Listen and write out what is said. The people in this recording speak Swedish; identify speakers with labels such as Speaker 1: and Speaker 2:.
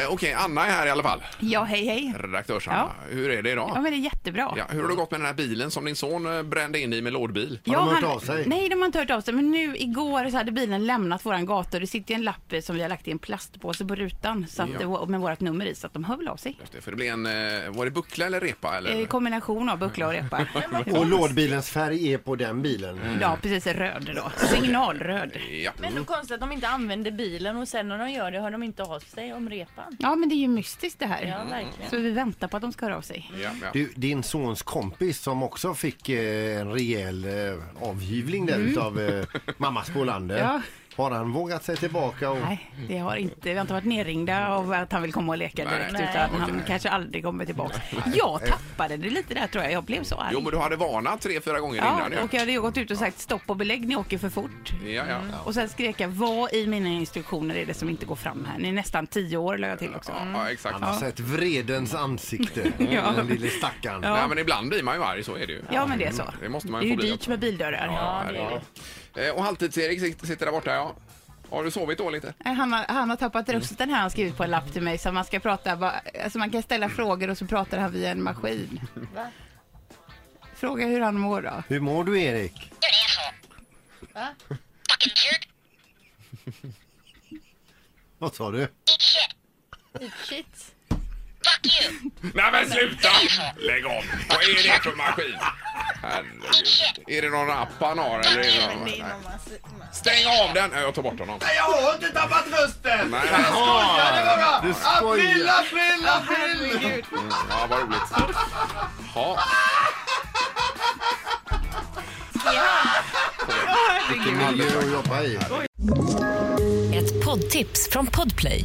Speaker 1: Eh, Okej, Anna är här i alla fall.
Speaker 2: Ja, hej hej.
Speaker 1: Redaktörs-Anna. Hur är det
Speaker 2: Ja,
Speaker 1: idag?
Speaker 2: men det är jättebra.
Speaker 1: Ja, hur har det gått med den här bilen som din son eh, brände in i med lådbil?
Speaker 2: Ja,
Speaker 3: de hört av sig?
Speaker 2: Nej, de har inte hört av sig. Men nu igår så hade bilen lämnat våran gata och det sitter en lapp eh, som vi har lagt i en plastpåse på rutan så att,
Speaker 1: Ja.
Speaker 2: med vårt nummer i så att de hör väl av sig.
Speaker 1: Just det, För det blev en, eh, var det buckla eller repa? Eller?
Speaker 2: Eh, Kombination av buckla och repa.
Speaker 3: Och lådbilens färg är på den bilen.
Speaker 2: Ja, precis. Röd då. Signalröd.
Speaker 1: Ja.
Speaker 4: Men då konstigt att de inte använder bilen och sen när de gör det hör de inte av sig om repan.
Speaker 2: Ja, men det är ju mystiskt det här.
Speaker 4: Ja, verkligen.
Speaker 2: Så vi väntar på att de ska höra av sig.
Speaker 1: Ja, ja.
Speaker 3: Du, din sons kompis som också fick eh, en rejäl eh, avhyvling där utav eh, mamma Spolander.
Speaker 2: Mm. Ja.
Speaker 3: Har han vågat sig tillbaka? Och...
Speaker 2: Nej, det har inte. Vi har inte varit nerringda av att han vill komma och leka
Speaker 1: Nej.
Speaker 2: direkt
Speaker 4: Nej.
Speaker 2: utan
Speaker 1: Okej.
Speaker 2: han kanske aldrig kommer tillbaka. Jag tappade det lite där tror jag. Jag blev så arg.
Speaker 1: Jo, men du hade varnat tre, fyra gånger innan. ju.
Speaker 2: Ja, och jag hade ju gått ut och sagt stopp och belägg, ni åker för fort.
Speaker 1: Ja, ja.
Speaker 2: Och sen skrek jag, vad i mina instruktioner är det som inte går fram här? Ni är nästan tio år, la jag till också.
Speaker 1: Ja, ja, exakt.
Speaker 3: Han har sett vredens ansikte,
Speaker 2: Ja.
Speaker 3: den lille stackaren.
Speaker 2: Ja.
Speaker 1: Nej, men ibland blir man ju arg, så är det ju.
Speaker 2: Ja, men det är så.
Speaker 1: Mm, Det måste man
Speaker 2: är
Speaker 1: ju
Speaker 2: ju
Speaker 1: få bli
Speaker 2: dyrt
Speaker 1: också.
Speaker 2: med bildörrar.
Speaker 4: Ja, det är
Speaker 1: herregud.
Speaker 4: det.
Speaker 1: Eh, Och Halvtids-Erik sit- sitter där borta, ja. Har du sovit dåligt? eh?
Speaker 2: Nej, Han har, han har tappat
Speaker 1: Mm.
Speaker 2: rösten här, han skrivit på en lapp till mig. Så man, ska prata, bara- alltså man kan ställa frågor och så pratar han via en maskin.
Speaker 4: Va?
Speaker 2: Fråga hur han mår då.
Speaker 3: Hur mår du Erik?
Speaker 5: You're an asshole.
Speaker 4: Huh?
Speaker 5: Fucking jerk.
Speaker 3: Vad sa du?
Speaker 5: Eat shit.
Speaker 4: Eat shit.
Speaker 5: Fuck you.
Speaker 1: Nej men sluta! Lägg av! Vad är det för maskin? Herregud. Är det någon app han har eller är det någon...
Speaker 4: Det
Speaker 1: Nej.
Speaker 4: är någon massa-
Speaker 1: Stäng av den! Nej, Jag tar bort honom.
Speaker 6: Jag har inte tappat rösten!
Speaker 1: Nej, nej.
Speaker 3: Du
Speaker 6: April,
Speaker 3: skojar!
Speaker 6: april, april!
Speaker 1: Ja, vad roligt. Ja,
Speaker 3: Vilken miljö att jobba i.
Speaker 7: Ett poddtips från Podplay.